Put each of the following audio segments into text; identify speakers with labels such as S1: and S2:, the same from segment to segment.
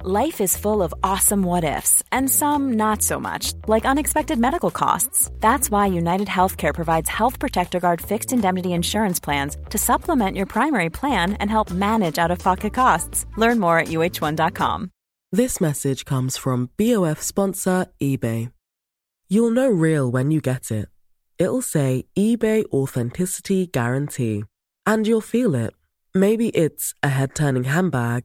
S1: Life is full of awesome what ifs, and some not so much, like unexpected medical costs. That's why United Healthcare provides Health Protector Guard fixed indemnity insurance plans to supplement your primary plan and help manage out of pocket costs. Learn more at uh1.com.
S2: This message comes from BOF sponsor eBay. You'll know real when you get it. It'll say eBay Authenticity Guarantee. And you'll feel it. Maybe it's a head turning handbag,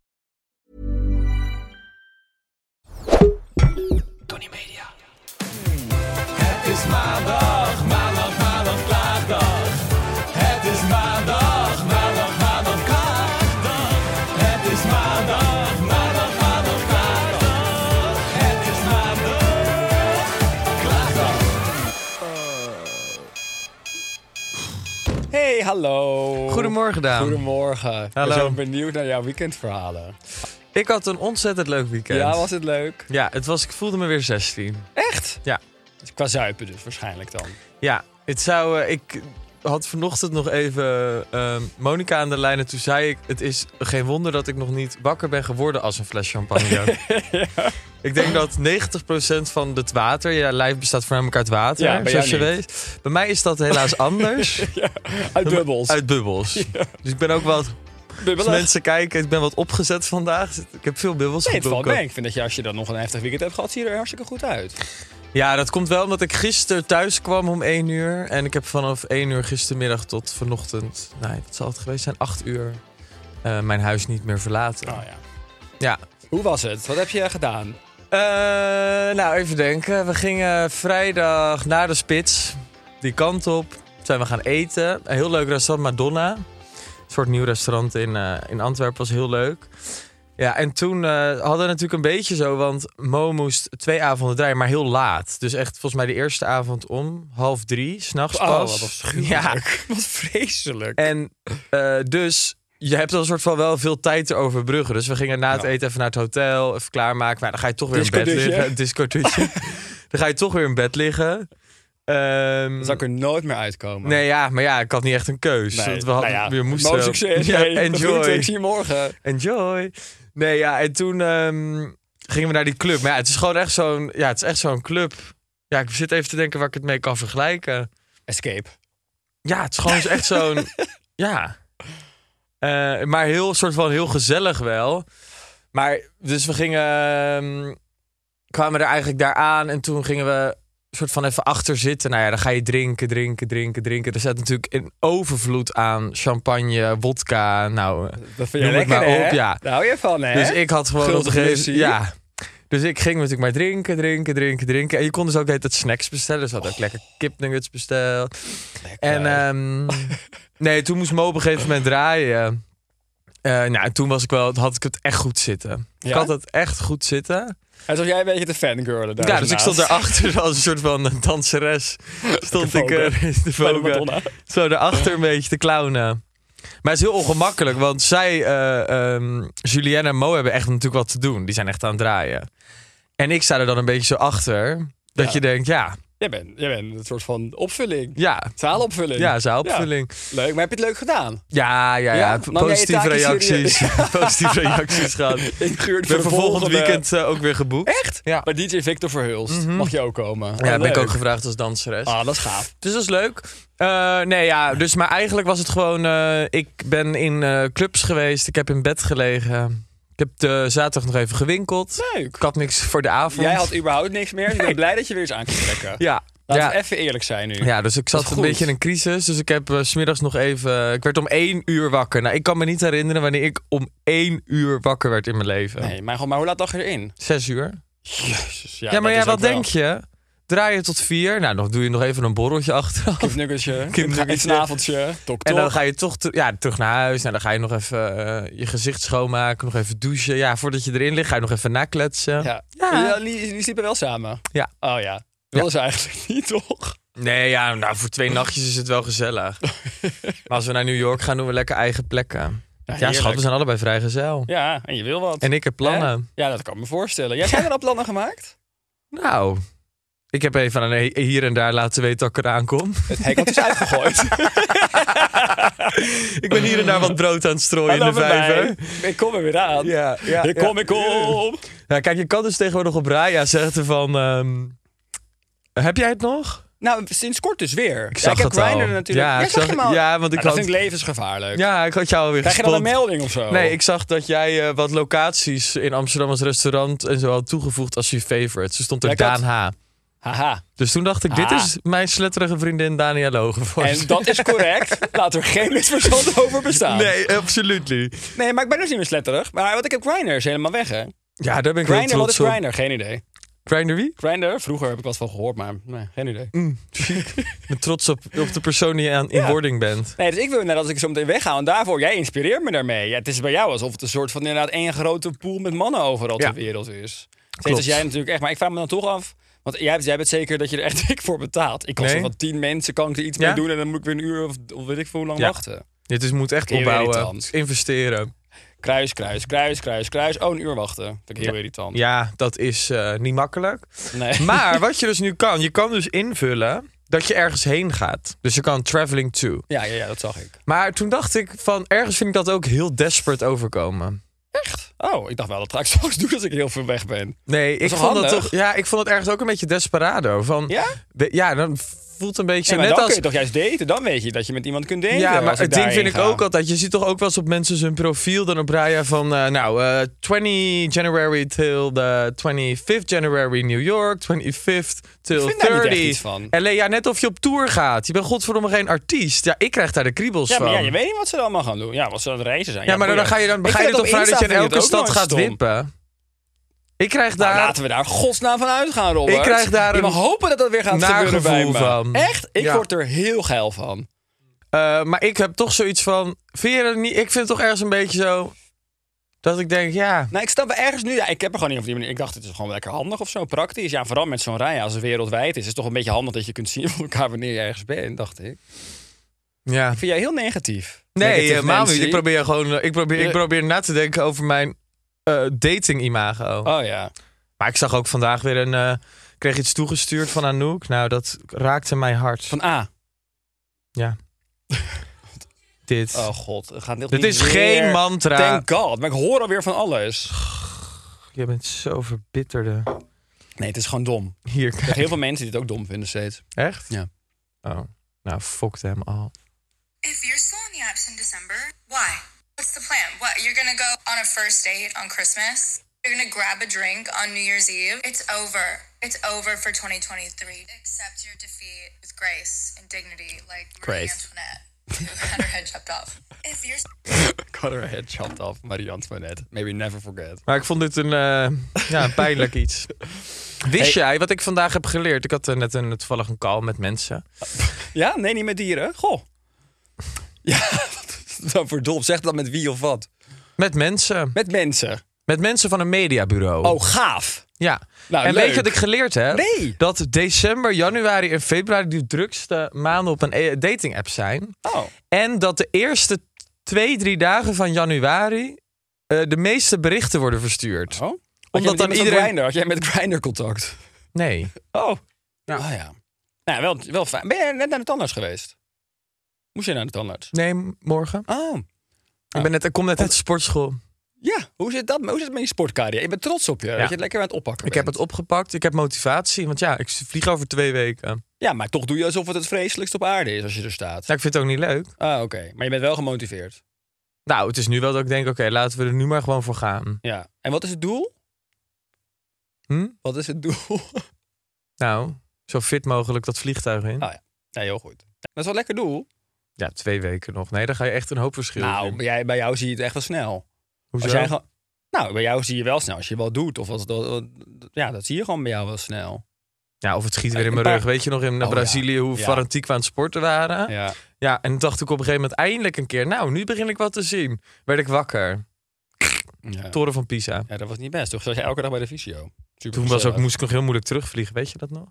S3: Tony Media. Het is maandag, maandag, maandag, klaagdag. Het is maandag, maandag, maandag, klaagdag. Het is maandag, maandag, maandag, klaagdag. Het is maandag, klaagdag.
S4: Hey, hallo.
S5: Goedemorgen, Daan.
S4: Goedemorgen. Ik ben
S5: Hallo.
S4: zo benieuwd naar jouw weekendverhalen.
S5: Ik had een ontzettend leuk weekend.
S4: Ja, was het leuk?
S5: Ja, het was, ik voelde me weer 16.
S4: Echt?
S5: Ja.
S4: Qua zuipen dus waarschijnlijk dan.
S5: Ja, het zou, eh, ik had vanochtend nog even ehm Monika aan de lijn en toen zei ik... Het is geen wonder dat ik nog niet wakker ben geworden als een fles champagne. Ik denk dat 90% van het water, ja, lijf bestaat voornamelijk uit water,
S4: Ja, bij
S5: zoals je
S4: jou niet.
S5: weet. Bij mij is dat helaas anders.
S4: Uit bubbels.
S5: Uit bubbels. Dus ik ben ook wat... Als
S4: bubbels.
S5: mensen kijken, ik ben wat opgezet vandaag. Ik heb veel bubbels
S4: Nee, het valt
S5: gedronken.
S4: mee. Ik vind dat je als je dan nog een heftig weekend hebt gehad, zie je er hartstikke goed uit.
S5: Ja, dat komt wel omdat ik gisteren thuis kwam om 1 uur. En ik heb vanaf 1 uur gistermiddag tot vanochtend, nee, dat zal het geweest zijn, 8 uur, eh, mijn huis niet meer verlaten.
S4: Oh ja.
S5: Ja.
S4: Hoe was het? Wat heb je gedaan?
S5: Eh, nou, even denken. We gingen vrijdag naar de spits, die kant op. Zijn we gaan eten. Een heel leuk restaurant, Madonna. Een soort nieuw restaurant in, eh, in Antwerpen was heel leuk. Ja, en toen eh, hadden we natuurlijk een beetje zo, want Mo moest twee avonden draaien, maar heel laat. Dus echt volgens mij de eerste avond om half drie, s'nachts
S4: Oh,
S5: pas.
S4: wat
S5: ja,
S4: afschuwelijk. Wat vreselijk.
S5: en eh, dus je hebt dan een soort van wel veel tijd te overbruggen. Dus we gingen na het
S4: Ja.
S5: eten even naar het hotel, even klaarmaken. Maar dan ga je toch weer in bed
S4: Discoduutje.
S5: liggen. Discoduutje. dan ga je toch weer in bed liggen. Ehm,
S4: Dan zou ik er nooit meer uitkomen.
S5: Nee, ja, maar ja, ik had niet echt een keus.
S4: Nee.
S5: Want we hadden,
S4: Nou ja,
S5: we moesten...
S4: Mo, succes.
S5: Ja,
S4: Hey,
S5: enjoy.
S4: groeten. Ik zie je morgen.
S5: Enjoy. Nee, ja, en toen ehm, gingen we naar die club. Maar ja, het is gewoon echt zo'n... Ja, het is echt zo'n club. Ja, ik zit even te denken waar ik het mee kan vergelijken.
S4: Escape.
S5: Ja, het is gewoon echt zo'n. ja. Eh, maar heel soort van heel gezellig wel. Maar dus we gingen. ehm, kwamen er eigenlijk daar aan en toen gingen we soort van even achter zitten. Nou ja, dan ga je drinken, drinken, drinken, drinken. Er zat natuurlijk een overvloed aan champagne, wodka. Nou, eh,
S4: Dat vind je
S5: Noem het
S4: lekker,
S5: maar
S4: hè?
S5: op, ja.
S4: Daar hou je van, hè?
S5: dus ik had gewoon op een
S4: Gulden
S5: gegeven
S4: missie.
S5: Ja. Dus ik ging natuurlijk maar drinken, drinken, drinken, drinken. En je kon dus ook de hele tijd snacks bestellen. Dus we hadden ook lekker kipnuggets besteld.
S4: Lekker.
S5: En ehm, nee, toen moest Mo op een gegeven moment draaien. Eh, nou, toen was ik wel, had ik het echt goed zitten. Ik
S4: Ja?
S5: had het echt goed zitten.
S4: En zoals jij een beetje te fangirlen daar
S5: ja, dus ik
S4: ernaast.
S5: stond daarachter als een soort van danseres. Stond ik er de
S4: Bij de
S5: vogue,
S4: Madonna.
S5: zo daarachter een beetje te clownen. Maar het is heel ongemakkelijk, want zij, eh, ehm, Julianne en Mo hebben echt natuurlijk wat te doen. Die zijn echt aan het draaien. En ik sta er dan een beetje zo achter. Dat
S4: Ja.
S5: je denkt, ja,
S4: Jij bent, jij bent een soort van opvulling.
S5: ja,
S4: Zaalopvulling.
S5: ja, zaalopvulling.
S4: Ja, Leuk, maar heb je het leuk gedaan?
S5: Ja, ja, ja.
S4: Ja?
S5: P-
S4: Nam jij je
S5: Positieve
S4: taken
S5: reacties.
S4: serieus?
S5: Positieve reacties gehad. Ik
S4: Ik geurde
S5: ben voor volgend weekend eh, ook weer geboekt.
S4: Echt?
S5: Ja. Mhm.
S4: Bij DJ Victor Verhulst. Mag je ook komen?
S5: Ja, ben ik ook
S4: Leuk.
S5: gevraagd als danseres.
S4: Ah, dat is gaaf.
S5: Dus dat is leuk. Eh, nee, ja, dus, maar eigenlijk was het gewoon... eh, ik ben in eh, clubs geweest. Ik heb in bed gelegen. Ik heb de zaterdag nog even gewinkeld.
S4: Leuk.
S5: Ik had niks voor de avond.
S4: Jij had überhaupt niks meer. Dus ik ben blij dat je weer eens aan kunt trekken.
S5: Ja.
S4: Laten
S5: Ja.
S4: we even eerlijk zijn nu.
S5: Ja, dus ik
S4: is
S5: zat een
S4: goed.
S5: beetje in een crisis. Dus ik heb eh, 's smiddags nog even... ik werd om één uur wakker. Nou, ik kan me niet herinneren wanneer ik om één uur wakker werd in mijn leven.
S4: Nee, maar, gewoon, maar hoe laat lag je erin?
S5: Zes uur.
S4: Jezus. Ja,
S5: Ja,
S4: dat
S5: maar ja,
S4: is ook
S5: wat
S4: wel-
S5: denk je? draaien tot vier. Nou, dan doe je nog even een borreltje achteraf.
S4: Kipnuggertje,
S5: Kipnuggertje.
S4: een avondje, tok
S5: En dan
S4: tok.
S5: ga je toch ter- ja, terug naar huis. Nou, dan ga je nog even eh, je gezicht schoonmaken, nog even douchen. Ja, voordat je erin ligt, ga je nog even nakletsen.
S4: Ja,
S5: Ja.
S4: ja. die, die sliepen wel samen.
S5: Ja.
S4: Oh ja, dat is eigenlijk niet toch?
S5: Nee, ja, nou, voor twee nachtjes is het wel gezellig. maar als we naar New York gaan, doen we lekker eigen plekken. Ja, schat,
S4: heerlijk.
S5: we zijn allebei vrijgezel.
S4: Ja, en je wil wat.
S5: En ik heb plannen.
S4: Hè? Ja, dat kan ik me voorstellen. Jij hebt er al plannen gemaakt?
S5: Nou, ik heb even aan een- hier en daar laten weten dat ik eraan kom.
S4: Het hek had dus uitgegooid.
S5: ik ben hier en daar wat brood aan het strooien
S4: Hallo
S5: in de
S4: bij mij.
S5: vijver.
S4: Ik kom er weer aan.
S5: Ja, ja,
S4: ik kom, ik kom.
S5: Ja, kijk, je kan dus tegenwoordig op Raya zeggen van... ehm, heb jij het nog?
S4: Nou, sinds kort dus weer.
S5: Ik
S4: Ik,
S5: zag
S4: ja, ik
S5: het
S4: heb Grindr
S5: al.
S4: natuurlijk.
S5: Ja,
S4: Ja,
S5: ik
S4: ik zag
S5: zag-
S4: hem al.
S5: ja, want ik
S4: Maar dat
S5: had-
S4: vind ik levensgevaarlijk.
S5: Ja, ik had jou alweer
S4: Krijg je dan een Oh.
S5: gespot.
S4: melding of zo?
S5: Nee, ik zag dat jij eh, wat locaties in Amsterdam als restaurant en zo had toegevoegd als je favorites. Er stond er
S4: Ja, ik
S5: Daan
S4: had-
S5: H.
S4: Haha.
S5: Dus toen dacht ik, dit
S4: Ah.
S5: is mijn sletterige vriendin Dania Logenvoort.
S4: En dat is correct. Laat er geen misverstand over bestaan.
S5: Nee, absoluut
S4: Nee, maar ik ben dus niet meer sletterig. Maar wat ik heb Grindr is helemaal weg, hè?
S5: Ja, daar ben ik heel
S4: Grindr, wat is
S5: trots op.
S4: Grindr? Geen idee.
S5: Grindr wie?
S4: Grindr, vroeger heb ik wat van gehoord, maar nee, geen idee.
S5: Ik ben trots op, op de persoon die je aan, in wording bent.
S4: Nee, dus ik wil net als ik zo meteen wegga. En daarvoor, jij inspireert me daarmee. Ja, het is bij jou alsof het een soort van inderdaad één grote pool met mannen overal
S5: Ja.
S4: ter wereld is.
S5: Klopt.
S4: Steeds als jij natuurlijk echt. Maar ik vraag me dan toch af. Want jij, jij bent zeker dat je er echt dik voor betaalt. Ik kan
S5: Nee.
S4: zo van tien mensen, kan ik er iets
S5: Ja?
S4: mee doen en dan moet ik weer een uur of, of weet ik veel hoe lang
S5: Ja.
S4: wachten.
S5: Dit is, moet echt
S4: Heel
S5: opbouwen,
S4: irritant.
S5: investeren.
S4: Kruis, kruis, kruis, kruis, kruis. Oh, een uur wachten. Vind ik heel irritant.
S5: Ja, dat is eh, niet makkelijk.
S4: Nee.
S5: Maar wat je dus nu kan, je kan dus invullen dat je ergens heen gaat. Dus je kan traveling to.
S4: Ja, ja, ja, dat zag ik.
S5: Maar toen dacht ik van, ergens vind ik dat ook heel desperate overkomen.
S4: Oh, ik dacht wel dat ga ik straks doen als ik heel veel weg ben.
S5: Nee, ik
S4: toch
S5: vond dat
S4: handig?
S5: toch. Ja, ik vond het ergens ook een beetje desperado. Van,
S4: Ja?
S5: de- ja, dan voelt een beetje
S4: Nee,
S5: zo
S4: maar
S5: net
S4: dan
S5: als.
S4: kun je toch juist daten. Dan weet je dat je met iemand kunt daten.
S5: ja, maar
S4: als ik
S5: het ding
S4: daarheen
S5: vind ik
S4: ga.
S5: ook altijd. Je ziet toch ook wel eens op mensen hun profiel dan op Raya van. eh, nou, eh, 20 January till the 25th January New York, 25th till
S4: Ik vind daar niet echt
S5: 30.
S4: iets van.
S5: LA, ja, net of je op tour gaat. Je bent godverdomme geen artiest. Ja, ik krijg daar de kriebels
S4: Ja,
S5: van.
S4: maar ja, je weet niet wat ze dan allemaal gaan doen. Ja, wat ze aan het reizen zijn.
S5: Ja, maar dan,
S4: boeien.
S5: ga je, dan
S4: Ik
S5: ga je
S4: vind
S5: er toch
S4: op
S5: vanuit dat je
S4: Insta
S5: in
S4: vind ik
S5: elke
S4: het ook
S5: stad
S4: nooit
S5: gaat
S4: stom.
S5: wippen. Ik krijg
S4: Nou,
S5: daar...
S4: laten we daar godsnaam van uitgaan, Robert.
S5: Ik krijg daar
S4: Je mag
S5: een
S4: hopen dat dat weer gaat
S5: naar
S4: gebeuren bij
S5: gevoel
S4: me.
S5: van.
S4: Echt? Ik
S5: Ja.
S4: word er heel geil van.
S5: Eh, maar ik heb toch zoiets van... Vind je dat niet... Ik vind het toch ergens een beetje zo... Dat ik denk, ja...
S4: Nou, ik stap wel ergens nu. Ja, ik heb er gewoon niet op die manier. Ik dacht, het is gewoon lekker handig of zo, praktisch. Ja, vooral met zo'n rij als het wereldwijd is. is het toch een beetje handig dat je kunt zien van elkaar wanneer je ergens bent, dacht ik.
S5: ja.
S4: Vind jij heel negatief?
S5: Nee,
S4: Negative
S5: helemaal
S4: Nancy.
S5: niet. Ik probeer gewoon... eh, Ik probeer, ik
S4: Je-
S5: probeer na te denken over mijn eh, dating-imago.
S4: Oh ja.
S5: Maar ik zag ook vandaag weer een... eh, ik kreeg iets toegestuurd van Anouk. Nou, dat raakte mijn hart.
S4: Van A.
S5: Ja. Dit.
S4: Oh god, het gaat
S5: Dit is geen
S4: man.
S5: mantra.
S4: Thank god, maar ik hoor alweer van alles.
S5: Je bent zo verbitterde.
S4: Nee, het is gewoon dom.
S5: Hier,
S4: Er zijn
S5: kijk.
S4: heel veel mensen die het ook dom vinden steeds.
S5: Echt?
S4: Ja.
S5: Oh, nou, fucked hem al.
S6: If you're still in the apps in December, why? What's the plan? What, you're gonna go on a first date on Christmas? You're gonna grab a drink on New Year's Eve? It's over. It's over for 2023. Accept your defeat with grace and dignity, like Marie
S4: Grace.
S6: Antoinette, who had her head chopped off. If you're
S4: Cut her head chopped off, Marie Antoinette. Maybe never forget.
S5: Maar ik vond dit een, eh, ja, een pijnlijk iets. Wist jij wat ik vandaag heb geleerd? Ik had eh, net een, toevallig een call met mensen.
S4: Ja? Nee, niet met dieren. Goh. Ja, wat is dat voor dom? Zeg dat met wie of wat?
S5: Met mensen.
S4: Met mensen.
S5: Met mensen van een mediabureau.
S4: Oh, gaaf.
S5: Ja.
S4: Nou,
S5: en
S4: leuk.
S5: weet je wat ik geleerd heb?
S4: Nee.
S5: Dat december, januari en februari de drukste maanden op een e- dating app zijn.
S4: Oh.
S5: En dat de eerste twee, drie dagen van januari eh, de meeste berichten worden verstuurd.
S4: oh?
S5: Omdat dan iedereen...
S4: Grindr, had jij met Grindr contact?
S5: Nee.
S4: Oh. Ja. Oh ja. Nou, wel, wel fijn. Ben je net naar de tandarts geweest? Moest je naar de tandarts?
S5: Nee, morgen.
S4: Oh.
S5: Ik, ben net, ik kom net uit de sportschool.
S4: Ja, hoe zit dat? Hoe zit het met je sportcarrière? Ik ben trots op je, dat je het lekker aan het oppakken
S5: Ik heb
S4: bent.
S5: het opgepakt. Ik heb motivatie. Want ja, ik vlieg over twee weken.
S4: Ja, maar toch doe je alsof het het vreselijkst op aarde is als je er staat.
S5: Nou, ik vind het ook niet leuk.
S4: Ah, oké. Maar je bent wel gemotiveerd.
S5: Nou, het is nu wel dat ik denk, oké, laten we er nu maar gewoon voor gaan.
S4: Ja. En wat is het doel?
S5: Hm?
S4: Wat is het doel?
S5: Nou, zo fit mogelijk dat vliegtuig in.
S4: Ah. nee, heel goed. Dat is wel een lekker doel.
S5: Ja, twee weken nog. Nee, dan ga je echt een hoop verschil
S4: Nou,
S5: zien.
S4: bij, jij, bij jou zie je het echt wel snel.
S5: Hoezo?
S4: Als jij gewoon- nou, bij jou zie je wel snel als je wat doet. Of als, dat- dat- ja, dat zie je gewoon bij jou wel snel.
S5: Ja, of het schiet weer in mijn
S4: Een paar-
S5: rug. Weet je nog in eh,
S4: Oh,
S5: Brazilië hoe
S4: Ja.
S5: fanatiek we aan het sporten waren?
S4: Ja.
S5: Ja, en toen dacht ik op een gegeven moment eindelijk een keer... nou, nu begin ik wat te zien. Werd ik wakker.
S4: Ja.
S5: Toren van Pisa.
S4: ja, dat was niet best. Toen zat je elke dag bij de visio. Super
S5: Toen was ook,
S4: gezellig.
S5: moest ik nog heel moeilijk terugvliegen. Weet je dat nog?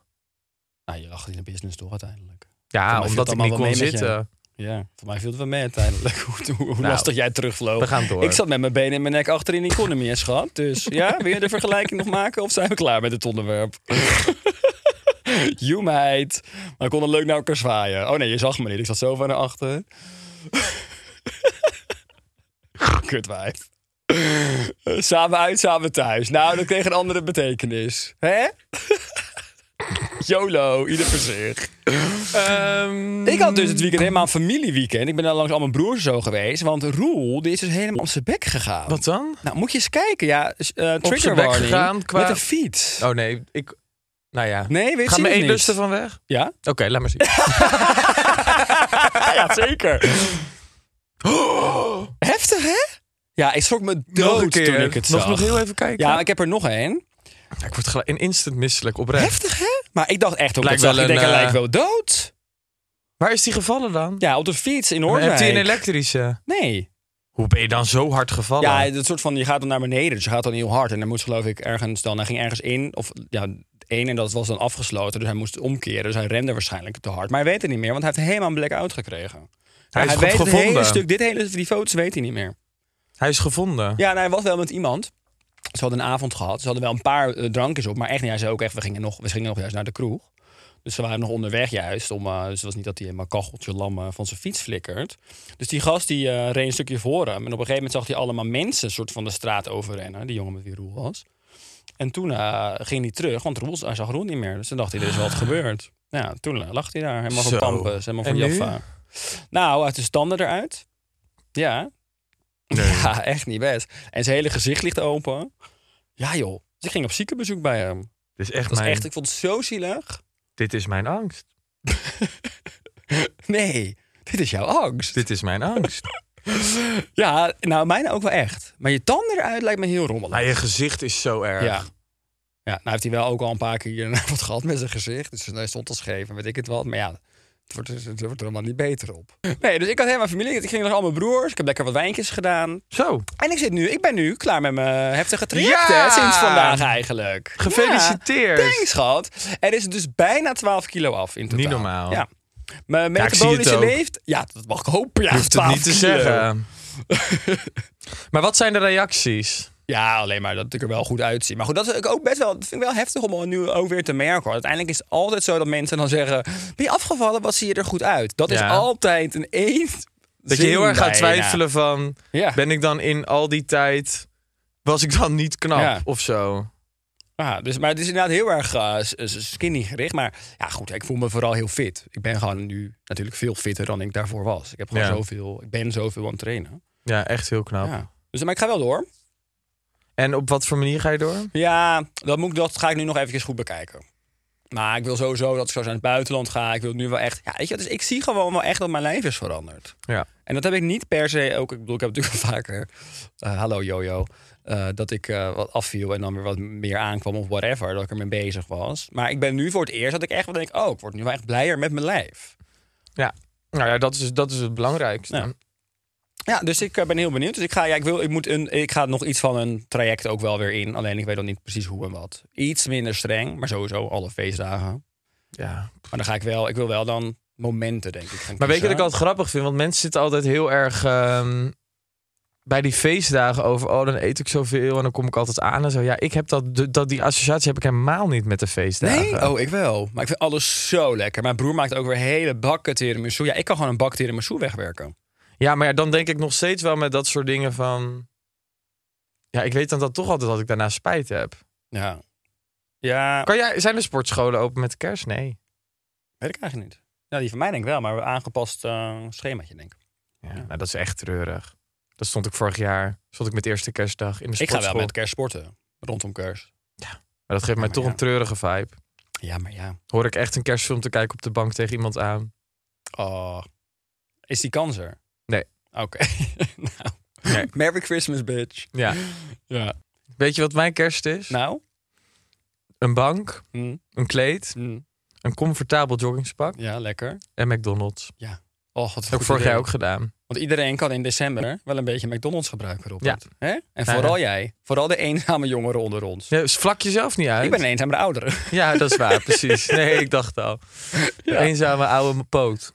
S4: Nou, je lag in de business toch uiteindelijk. Voor
S5: Ja,
S4: mij viel
S5: omdat
S4: het
S5: ik niet
S4: allemaal wel
S5: kon
S4: mee met je.
S5: zitten.
S4: Ja, voor mij viel het wel mee uiteindelijk. hoe hoe, hoe
S5: Nou,
S4: lastig jij terugvloog.
S5: we gaan door.
S4: Ik zat met mijn benen en mijn nek achter in de economy, hè, schat. Dus ja, wil je de vergelijking nog maken of zijn we klaar met het onderwerp? you meid. Maar ik kon leuk naar elkaar zwaaien. Oh nee, je zag me niet. Ik zat zo van naar achter. Kutwijf. Samen uit, samen thuis. Nou, dat kreeg een andere betekenis. Hè? YOLO, ieder voor zich.
S5: Ehm,
S4: Ik had dus het weekend helemaal een familieweekend. Ik ben daar langs al mijn broers zo geweest. Want Roel, die is dus helemaal op zijn bek gegaan.
S5: Wat dan?
S4: Nou, moet je eens kijken. Ja, s- eh trigger
S5: zijn bek
S4: warning.
S5: gegaan qua-
S4: Met een fiets.
S5: Oh nee, ik... Nou ja.
S4: Nee, weet
S5: Gaan
S4: je
S5: mijn
S4: het niet?
S5: eetlusten van weg? Oké,
S4: Ja?
S5: laat maar zien.
S4: ja, zeker. Heftig, hè? Ja, ik schrok me
S5: Oh, Nog een
S4: dood toen
S5: keer.
S4: ik het
S5: nog,
S4: zag.
S5: nog heel even kijken.
S4: ja, ik heb er nog één.
S5: Ja, ik word gelijk in instant misselijk oprecht.
S4: Heftig, hè? Maar ik dacht echt ook,
S5: Lijkt
S4: dat zag
S5: wel
S4: ik, ik denk,
S5: een,
S4: hij
S5: eh,
S4: lijkt wel dood.
S5: Waar is die gevallen dan?
S4: Ja, op de fiets in
S5: Maar
S4: Hoornwijk.
S5: Hebt hij een Oh, elektrische?
S4: Nee.
S5: Hoe ben je dan zo hard gevallen?
S4: Ja, dat soort van, je gaat dan naar beneden, dus je gaat dan heel hard. En dan moest geloof ik ergens dan, hij ging ergens in, of ja, één en dat was dan afgesloten. Dus hij moest omkeren, dus hij rende waarschijnlijk te hard. Maar hij weet het niet meer, want hij heeft helemaal een blackout gekregen.
S5: hij is
S4: hij
S5: goed
S4: weet
S5: gevonden.
S4: het hele stuk, dit hele, die foto's weet hij niet meer.
S5: Hij is gevonden.
S4: Ja, en hij was wel met iemand. Ze hadden een avond gehad, ze hadden wel een paar eh, drankjes op, maar echt niet. Hij zei ook echt, we gingen nog, we gingen nog juist naar de kroeg. Dus ze waren nog onderweg juist. Om, eh, dus het was niet dat hij helemaal kacheltje lam eh, van zijn fiets flikkert. Dus die gast die eh, reed een stukje voor hem. En op een gegeven moment zag hij allemaal mensen soort van de straat overrennen. Die jongen met wie Roel was. En toen eh, ging hij terug, want Roel, hij zag Roel niet meer. Dus toen dacht hij, er is wat gebeurd. Ja, toen eh, lag hij daar, helemaal
S5: Ah. Zo.
S4: van Pampus, helemaal van
S5: En nu?
S4: Jaffa. Nou, uit de standen eruit. Ja. Ja, echt niet best. En zijn hele gezicht ligt open. Ja joh, dus ik ging op ziekenbezoek bij hem.
S5: Dit is echt
S4: Dat is
S5: mijn...
S4: echt, ik vond het zo zielig.
S5: Dit is mijn angst.
S4: Nee, dit is jouw angst.
S5: Dit is mijn angst.
S4: Ja, nou, mijne ook wel echt. Maar je tanden eruit lijkt me heel rommelig.
S5: maar je gezicht is zo erg.
S4: ja. ja, nou heeft hij wel ook al een paar keer een avond gehad met zijn gezicht. Dus hij stond al scheef en weet ik het wat. Maar ja, het wordt, het wordt er helemaal niet beter op. Nee, dus ik had helemaal familie. Ik ging nog al mijn broers. Ik heb lekker wat wijntjes gedaan.
S5: Zo,
S4: En ik, zit nu, ik ben nu klaar met mijn heftige traject
S5: Ja!
S4: hè, sinds vandaag eigenlijk.
S5: gefeliciteerd.
S4: Ja, thanks, schat. Er is dus bijna 12 kilo af in totaal.
S5: Niet normaal.
S4: Ja. Mijn
S5: Ja, ik zie het
S4: metabolische
S5: ook.
S4: leeft... Ja, dat mag ik hopen. Ja,
S5: Je hoeft het
S4: 12
S5: niet te
S4: kilo.
S5: zeggen. maar wat zijn de reacties?
S4: Ja, alleen maar dat ik er wel goed uitzie. Maar goed, dat, is ook best wel, dat vind ik wel heftig om nu ook weer te merken. Hoor. Uiteindelijk is het altijd zo dat mensen dan zeggen... Ben je afgevallen? Wat zie je er goed uit? Dat is
S5: Ja.
S4: altijd een één
S5: Dat je
S4: zin
S5: heel erg gaat
S4: bijna.
S5: twijfelen van...
S4: Ja.
S5: Ben ik dan in al die tijd... Was ik dan niet knap
S4: Ja.
S5: of zo?
S4: Ja, dus, maar het is inderdaad heel erg eh, s- s- skinny gericht. Maar ja, goed, ik voel me vooral heel fit. Ik ben gewoon nu natuurlijk veel fitter dan ik daarvoor was. Ik, heb gewoon
S5: Ja.
S4: zoveel, ik ben zoveel aan het trainen.
S5: Ja, echt heel knap.
S4: Ja. Dus, maar ik ga wel door.
S5: En op wat voor manier ga je door?
S4: Ja, dat, moet, ik- dat ga ik nu nog eventjes goed bekijken. Maar ik wil sowieso dat ik zo naar het buitenland ga. Ik wil nu wel echt... Ja, weet je, dus ik zie gewoon wel echt dat mijn lijf is veranderd.
S5: Ja.
S4: En dat heb ik niet per se ook. Ik bedoel, ik heb natuurlijk wel vaker. eh, hallo Jojo. eh, dat ik eh, wat afviel en dan weer wat meer aankwam of whatever. Dat ik ermee bezig was. Maar ik ben nu voor het eerst dat ik echt wel denk: oh, ik word nu wel echt blijer met mijn lijf.
S5: Ja. Nou ja, dat is, dat is het belangrijkste.
S4: Ja. Ja, dus ik eh, ben heel benieuwd. Dus ik ga, ja, ik wil, ik moet een, ik ga nog iets van een traject ook wel weer in. Alleen ik weet nog niet precies hoe en wat. Iets minder streng, maar sowieso alle feestdagen.
S5: ja.
S4: Maar dan ga ik wel, ik wil wel dan momenten, denk ik. gaan
S5: Maar weet je
S4: kiezen.
S5: wat ik altijd grappig vind? Want mensen zitten altijd heel erg ehm, bij die feestdagen over... oh, dan eet ik zoveel en dan kom ik altijd aan en zo. Ja, ik heb dat, de- dat, die associatie heb ik helemaal niet met de feestdagen.
S4: Nee? Oh, ik wel. Maar ik vind alles zo lekker. Mijn broer maakt ook weer hele bakken tiramisu. Ja, ik kan gewoon een bak tiramisu wegwerken.
S5: Ja, maar ja, dan denk ik nog steeds wel met dat soort dingen van... Ja, ik weet dan dat toch altijd dat ik daarna spijt heb.
S4: Ja. Ja,
S5: Kan jij, zijn de sportscholen open met de kerst? Nee.
S4: weet ik eigenlijk niet. Nou, die van mij denk ik wel, maar een aangepast eh, schemaatje denk ik.
S5: Ja, nou, dat is echt treurig. Dat stond ik vorig jaar, stond ik met de eerste kerstdag in de
S4: Ik
S5: sportschool.
S4: ga wel met kerst sporten, rondom kerst.
S5: Maar dat geeft mij
S4: Ja, maar
S5: toch
S4: ja.
S5: een treurige vibe.
S4: Ja, maar ja.
S5: Hoor ik echt een kerstfilm te kijken op de bank tegen iemand aan.
S4: Oh. Is die kans er?
S5: Nee.
S4: Oké. nou. Merry Christmas, bitch.
S5: Ja.
S4: Ja.
S5: Weet je wat mijn kerst is?
S4: Nou?
S5: een bank,
S4: Mm,
S5: een kleed,
S4: mm.
S5: een comfortabel joggingspak
S4: Ja, lekker.
S5: en McDonald's.
S4: Oh, wat een
S5: Heb ik
S4: goed
S5: vorig
S4: idee.
S5: jaar ook gedaan.
S4: Want iedereen kan in december wel een beetje McDonald's gebruiken, Robert. Hè? En
S5: Ja.
S4: vooral jij. Vooral de eenzame jongeren onder ons.
S5: Ja, dus vlak jezelf niet uit.
S4: Ik ben een eenzame oudere.
S5: Ja, dat is waar, precies. Nee, ik dacht al. Eenzame oude poot.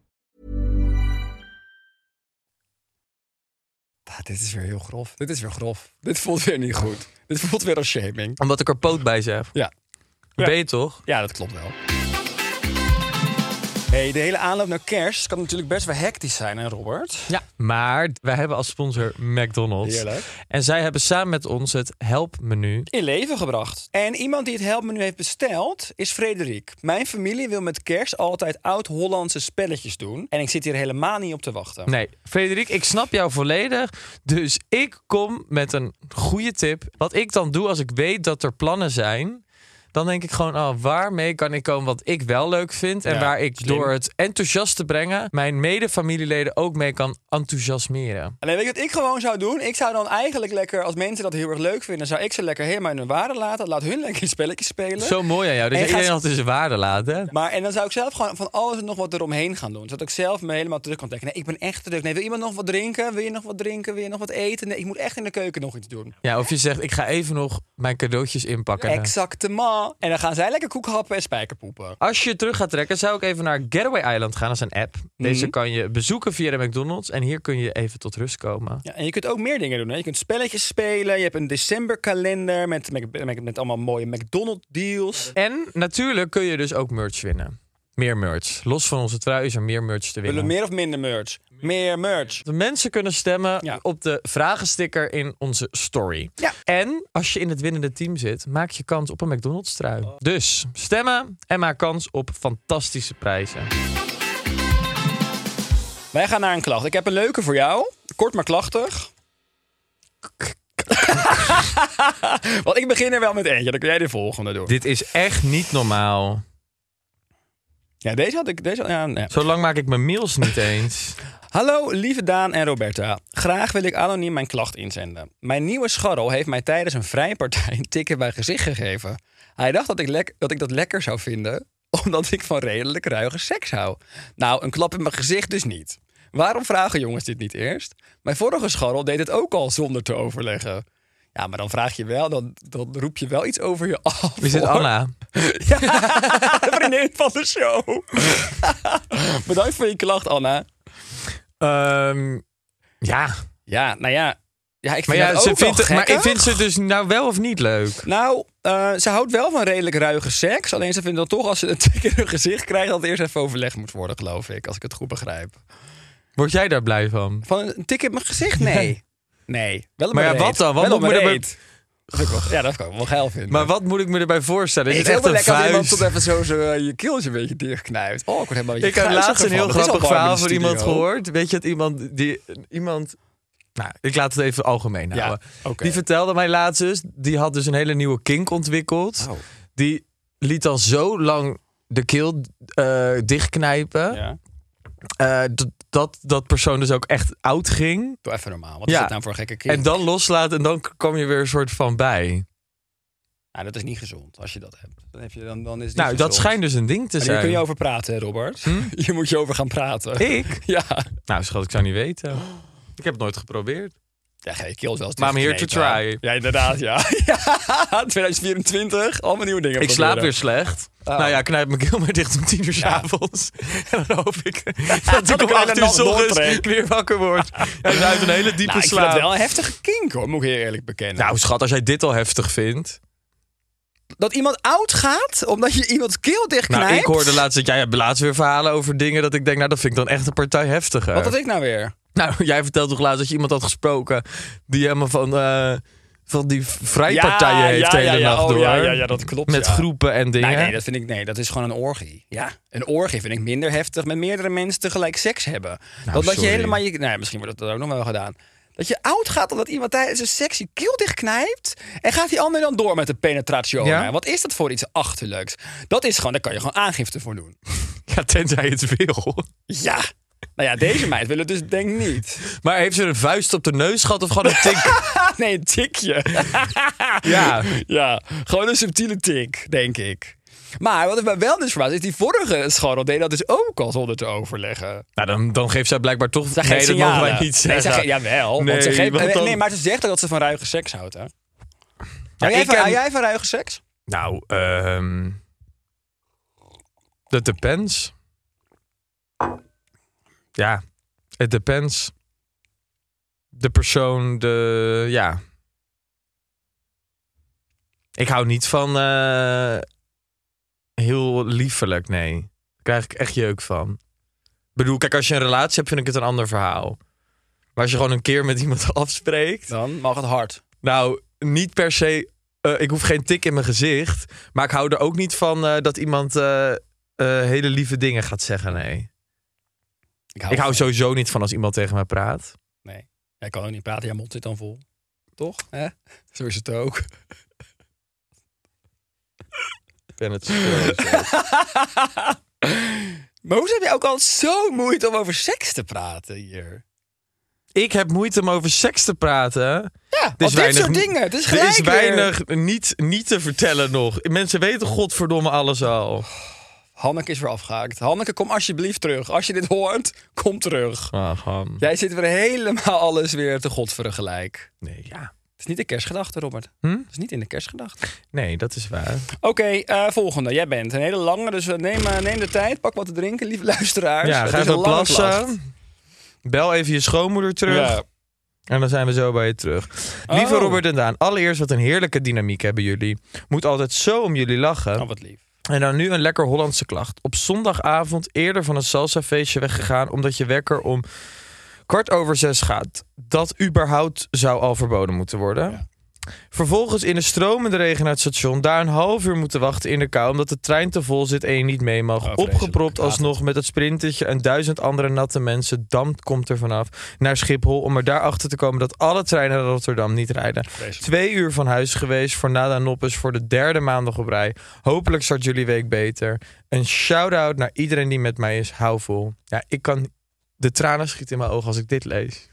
S4: Ah, dit is weer heel grof. Dit is weer grof. Dit voelt weer niet goed. Dit voelt weer als shaming.
S5: Omdat ik er poot bij zeg.
S4: Ja.
S5: Ben je toch?
S4: Ja, dat klopt wel. Hey, de hele aanloop naar kerst kan natuurlijk best wel hectisch zijn, hè Robert?
S5: Ja. Maar wij hebben als sponsor McDonald's.
S4: Heerlijk.
S5: En zij hebben samen met ons het helpmenu.
S4: In leven gebracht. En iemand die het helpmenu heeft besteld is Frederik. Mijn familie wil met kerst altijd oud-Hollandse spelletjes doen. En ik zit hier helemaal niet op te wachten.
S5: Nee, Frederik, ik snap jou volledig. Dus ik kom met een goede tip. Wat ik dan doe als ik weet dat er plannen zijn. Dan denk ik gewoon, oh, waarmee kan ik komen wat ik wel leuk vind. En
S4: Ja,
S5: waar ik
S4: slim.
S5: door het enthousiast te brengen. mijn mede-familieleden ook mee kan enthousiasmeren.
S4: Alleen weet je wat ik gewoon zou doen? Ik zou dan eigenlijk lekker, als mensen dat heel erg leuk vinden, zou ik ze lekker helemaal in hun waarde laten. Laat hun lekker spelletjes spelen.
S5: Zo mooi aan jou. Dat
S4: En
S5: je
S4: gaat-
S5: iedereen altijd zijn waarde laat, hè?
S4: Maar en dan zou ik zelf gewoon van alles en nog wat eromheen gaan doen. Zodat ik zelf me helemaal terug kan trekken. Nee, ik ben echt druk. Nee, wil iemand nog wat drinken? Wil je nog wat drinken? Wil je nog wat eten? Nee, ik moet echt in de keuken nog iets doen.
S5: Ja, of je zegt, ik ga even nog mijn cadeautjes inpakken.
S4: Exactement. En dan gaan zij lekker koek happen en spijkerpoepen.
S5: Als je terug gaat trekken, zou ik even naar Getaway Island gaan. Dat is een app. Deze kan je bezoeken via de McDonald's. En hier kun je even tot rust komen.
S4: Ja, en je kunt ook meer dingen doen. Hè? Je kunt spelletjes spelen. Je hebt een decemberkalender met, met, met, met allemaal mooie McDonald's deals.
S5: En natuurlijk kun je dus ook merch winnen. Meer merch. Los van onze trui is er meer merch te
S4: Willen
S5: winnen.
S4: we meer of minder merch? Meer merch.
S5: De mensen kunnen stemmen
S4: Ja.
S5: op de vragensticker in onze story.
S4: Ja.
S5: En als je in het winnende team zit, maak je kans op een McDonald's trui. Dus stemmen en maak kans op fantastische prijzen.
S4: Wij gaan naar een klacht. Ik heb een leuke voor jou. Kort maar klachtig. Want ik begin er wel met eentje. Dan kun jij de volgende doen.
S5: Dit is echt niet normaal.
S4: Ja, deze had ik. Deze, ja, nee.
S5: Zo lang maak ik mijn meals niet eens.
S4: Hallo, lieve Daan en Roberta. Graag wil ik anoniem mijn klacht inzenden. Mijn nieuwe scharrel heeft mij tijdens een vrije partij een tikken bij gezicht gegeven. Hij dacht dat ik, lek- dat ik dat lekker zou vinden, omdat ik van redelijk ruige seks hou. Nou, een klap in mijn gezicht dus niet. Waarom vragen jongens dit niet eerst? Mijn vorige scharrel deed het ook al zonder te overleggen. Ja, maar dan vraag je wel, dan, dan roep je wel iets over je af.
S5: Wie zit
S4: hoor.
S5: Anna?
S4: Ja, de vriendin van de show. Bedankt voor je klacht, Anna.
S5: Ehm, ja,
S4: Ja, nou ja. ja ik vind
S5: maar, ja,
S4: dat
S5: ze
S4: ook wel
S5: vindt, het- maar ik
S4: gekkig.
S5: vind ze dus nou wel of niet leuk.
S4: Nou, eh, ze houdt wel van redelijk ruige seks. Alleen ze vindt dat toch als ze een tik in hun gezicht krijgt... dat het eerst even overlegd moet worden, geloof ik. Als ik het goed begrijp.
S5: Word jij daar blij van?
S4: Van een tik in mijn gezicht? Nee. Nee. Wel op
S5: Maar
S4: mijn
S5: ja,
S4: reet.
S5: wat dan? Wat
S4: Wel op
S5: moet
S4: mijn
S5: ik me-
S4: reet. Dat is ook wel- Ja, dat kan ik wel geil vinden.
S5: Maar wat moet ik me erbij voorstellen? Is
S4: ik
S5: het
S4: vind het
S5: echt
S4: wel
S5: een
S4: lekker als iemand
S5: vuist?
S4: tot even zo, zo eh, je keeltje een beetje dichtknijpt. Oh, ik word helemaal een
S5: Ik
S4: beetje
S5: heb laatst
S4: gruizig
S5: een heel
S4: ervan. Het is al
S5: grappig
S4: warm in
S5: verhaal
S4: de
S5: van iemand
S4: studio.
S5: gehoord. Weet je dat iemand die iemand. Nou, ik laat het even algemeen
S4: Ja,
S5: houden.
S4: oké.
S5: Die vertelde mij laatst dus, die had dus een hele nieuwe kink ontwikkeld.
S4: Oh.
S5: Die liet dan zo lang de keel eh, dichtknijpen.
S4: Ja,
S5: eh, dat- dat dat persoon dus ook echt oud ging.
S4: doe even normaal. Wat is
S5: Ja.
S4: dat nou voor een gekke kind?
S5: En dan loslaten en dan k- kwam je weer een soort van bij.
S4: Nou, dat is niet gezond als je dat hebt. Dan, heb je, dan, dan is het niet
S5: Nou, dat
S4: gezond.
S5: schijnt dus een ding te
S4: Maar Hier kun je
S5: zijn. Hm?
S4: over praten, hè, Robert. Hier moet je over gaan praten.
S5: Ik?
S4: Ja.
S5: Nou, schat, ik zou niet weten. Ik heb het nooit geprobeerd.
S4: ja ga je keelt wel eens
S5: Maar I'm here
S4: dicht
S5: to
S4: kneten.
S5: try.
S4: dus Ja, inderdaad, ja. ja. 2024, allemaal nieuwe dingen
S5: Ik slaap weer
S4: proberen.
S5: slecht.
S4: Ah.
S5: Nou ja, knijp mijn keel maar dicht om tien uur s'avonds. En dan hoop ik dat
S4: Dat
S5: ik
S4: ik
S5: om
S4: wel
S5: acht
S4: een
S5: uur
S4: nacht
S5: 's ochtends
S4: doortrek.
S5: weer wakker word. En uit een hele diepe
S4: Nou, ik vind
S5: slaap.
S4: dat wel een heftige kink, hoor. Moet ik je eerlijk bekennen.
S5: Nou schat, als jij dit al heftig vindt.
S4: dat iemand oud gaat omdat je iemands keel dichtknijpt?
S5: Nou, ik hoorde laatst dat jij hebt laatst weer verhalen over dingen dat ik denk, nou dat vind ik dan echt een partij heftiger.
S4: Wat had ik nou weer?
S5: Nou, jij vertelde toch laatst dat je iemand had gesproken die helemaal van eh, van die vrijpartijen heeft de hele nacht
S4: oh,
S5: door.
S4: Ja, ja, ja, dat klopt.
S5: Met
S4: ja.
S5: groepen en dingen.
S4: Nee, nee, dat vind ik, nee, dat is gewoon een orgie. Ja, een orgie vind ik minder heftig met meerdere mensen tegelijk seks hebben. dat, dat je
S5: Nou, sorry.
S4: helemaal je, nee, misschien wordt dat ook nog wel gedaan. Dat je oud gaat omdat iemand tijdens een seks je keel dichtknijpt en gaat die ander dan door met de penetratie.
S5: Ja.
S4: Wat is dat voor iets achterlijks? Dat is gewoon, daar kan je gewoon aangifte voor doen.
S5: Ja, tenzij het wil.
S4: Ja. Nou ja, deze meid wil het dus denk ik niet.
S5: Maar heeft ze een vuist op de neus gehad of gewoon een tik?
S4: Ah, nee, een tikje.
S5: ja.
S4: Ja, gewoon een subtiele tik, denk ik. Maar wat ik mij wel dus verbaasd is, die vorige scharrel deed dat dus ook al zonder te overleggen.
S5: Nou, dan, dan geeft zij blijkbaar toch...
S4: Zij
S5: nee,
S4: geeft
S5: dat
S4: signalen.
S5: mogen wij niet
S4: Nee,
S5: zeggen.
S4: zij ge- jawel. want ze
S5: Nee,
S4: geeft,
S5: want
S4: nee,
S5: dan-
S4: nee, maar ze zegt ook dat ze van ruige seks houdt, hè?
S5: Ja,
S4: hou, jij
S5: ik
S4: van,
S5: heb-
S4: hou jij van ruige seks?
S5: Nou, ehm... Dat depends. Ja, het depends. De persoon, de... Ja. Ik hou niet van eh, heel liefelijk, nee. Daar krijg ik echt jeuk van. Ik bedoel, kijk, als je een relatie hebt, vind ik het een ander verhaal. Maar als je gewoon een keer met iemand afspreekt...
S4: Dan mag het hard.
S5: Nou, niet per se. eh, ik hoef geen tik in mijn gezicht. Maar ik hou er ook niet van eh, dat iemand eh, eh, hele lieve dingen gaat zeggen. Nee.
S4: Nou,
S5: ik hou
S4: van-
S5: sowieso niet van als iemand tegen mij praat.
S4: Nee, jij kan ook niet praten. Jij mond zit dan vol. Toch? Hè? Zo is het ook.
S5: Ik ben het.
S4: Maar hoe heb je ook al zo moeite om over seks te praten hier?
S5: ik heb moeite om over seks te praten.
S4: Ja, want dit soort dingen. Het is
S5: er
S4: gelijk
S5: is
S4: weer-
S5: weinig niet, niet te vertellen nog. Mensen weten godverdomme alles
S4: Oh,
S5: al.
S4: Hanneke is weer afgehaakt. Hanneke, kom alsjeblieft terug. Als je dit hoort, kom terug.
S5: Ah, gewoon.
S4: Jij zit weer helemaal alles weer te godveren gelijk.
S5: Nee, ja.
S4: Het is niet de kerstgedachte, Robert.
S5: Hm?
S4: Het is niet in de kerstgedachte.
S5: nee, dat is waar.
S4: Oké, eh, volgende. Jij bent een hele lange, dus eh, neem, eh, neem de tijd. Pak wat te drinken, lieve luisteraars.
S5: Ja,
S4: Het
S5: ga
S4: is een
S5: even
S4: lange
S5: plassen. Bel even je schoonmoeder terug.
S4: Ja.
S5: En dan zijn we zo bij je terug.
S4: Oh.
S5: Lieve Robert en Daan, allereerst wat een heerlijke dynamiek hebben jullie. Moet altijd zo om jullie lachen.
S4: Oh, wat lief.
S5: En dan nu een lekker Hollandse klacht. Op zondagavond eerder van een salsafeestje weggegaan... omdat je wekker om kwart over zes gaat. Dat überhaupt zou al verboden moeten worden.
S4: Ja.
S5: Vervolgens in de stromende regen naar het station... daar een half uur moeten wachten in de kou... omdat de trein te vol zit en je niet mee mag.
S4: vreselijk.
S5: Opgepropt
S4: Haat
S5: alsnog met het sprintetje en duizend andere natte mensen. Damp komt er vanaf naar Schiphol... om er daarachter te komen dat alle treinen naar Rotterdam niet rijden. Twee uur van huis geweest voor Nada Noppes voor de derde maandag op rij. Hopelijk start jullie week beter. Een shout-out naar iedereen die met mij is. Hou vol. Ja, ik kan... De tranen schieten in mijn ogen als ik dit lees.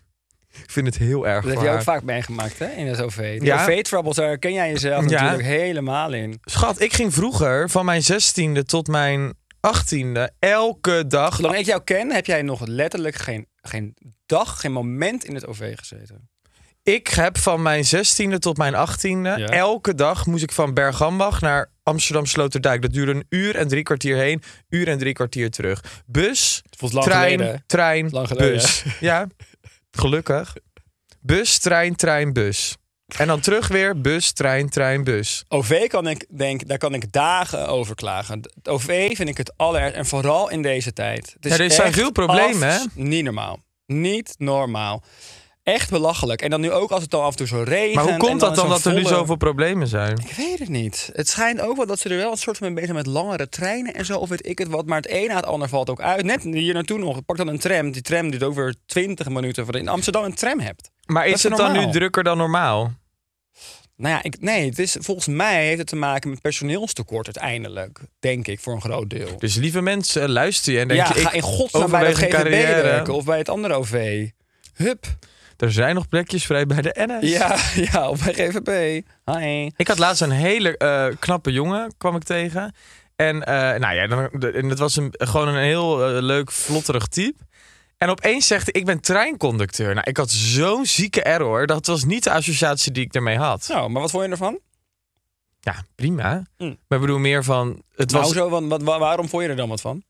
S5: Ik vind het heel erg
S4: Dat heb
S5: voor
S4: je
S5: haar.
S4: ook vaak meegemaakt, hè, in het OV. Die
S5: Ja.
S4: OV-troubles, daar ken jij jezelf
S5: Ja.
S4: natuurlijk helemaal in.
S5: Schat, ik ging vroeger van mijn 16e tot mijn 18e elke dag...
S4: Zolang ik jou ken, heb jij nog letterlijk geen, geen dag, geen moment in het OV gezeten.
S5: Ik heb van mijn 16e tot mijn 18e elke dag moest ik van Bergambach naar Amsterdam Sloterdijk. Dat duurde een uur en drie kwartier heen, uur en drie kwartier terug. Bus,
S4: voelt lang
S5: trein,
S4: geleden, hè?
S5: trein,
S4: Lang geleden,
S5: bus. Ja, gelukkig. Bus, trein, trein, bus. En dan terug weer bus, trein, trein, bus.
S4: OV kan ik, denk, daar kan ik dagen over klagen. Het OV vind ik het aller en vooral in deze tijd. Het is
S5: Ja, er zijn
S4: echt
S5: veel problemen,
S4: af-
S5: hè?
S4: Niet normaal. Niet normaal. Echt belachelijk. En dan nu ook als het dan af en toe zo regent.
S5: Maar hoe
S4: en
S5: komt dat dan
S4: zo'n
S5: dat er nu
S4: volle-
S5: zoveel problemen zijn?
S4: Ik weet het niet. Het schijnt ook wel dat ze er wel een soort van bezig met langere treinen en zo. Of weet ik het wat. Maar het een na het ander valt ook uit. Net hier naartoe nog. Pak dan een tram. Die tram duurt ook weer 20 minuten voordat je in Amsterdam een tram hebt.
S5: Maar
S4: Dat
S5: is
S4: is
S5: het dan nu
S4: normaal.
S5: drukker dan normaal?
S4: Nou ja, ik, nee, het is, volgens mij heeft het te maken met personeelstekort uiteindelijk. Denk ik, voor een groot deel.
S5: Dus lieve mensen, luister je en denk
S4: ja,
S5: je...
S4: ga
S5: ik
S4: in godsnaam bij de
S5: overweeg een
S4: GVB
S5: carrière.
S4: werken of bij het andere OV. Hup.
S5: Er zijn nog plekjes vrij bij de NS.
S4: Ja, ja of bij GVB. Hi.
S5: Ik had laatst een hele eh, knappe jongen, kwam ik tegen. En, eh, nou ja, dan, de- en het was een, gewoon een heel eh, leuk, vlotterig type. En opeens zegt hij, ik ben treinconducteur. Nou, ik had zo'n zieke error. Dat was niet de associatie die ik ermee had.
S4: Nou, maar wat vond je ervan?
S5: Ja, prima.
S4: Mm.
S5: Maar ik bedoel meer van... Het
S4: Nou,
S5: was,
S4: zo, want, wat, wa- waarom vond je er dan wat van?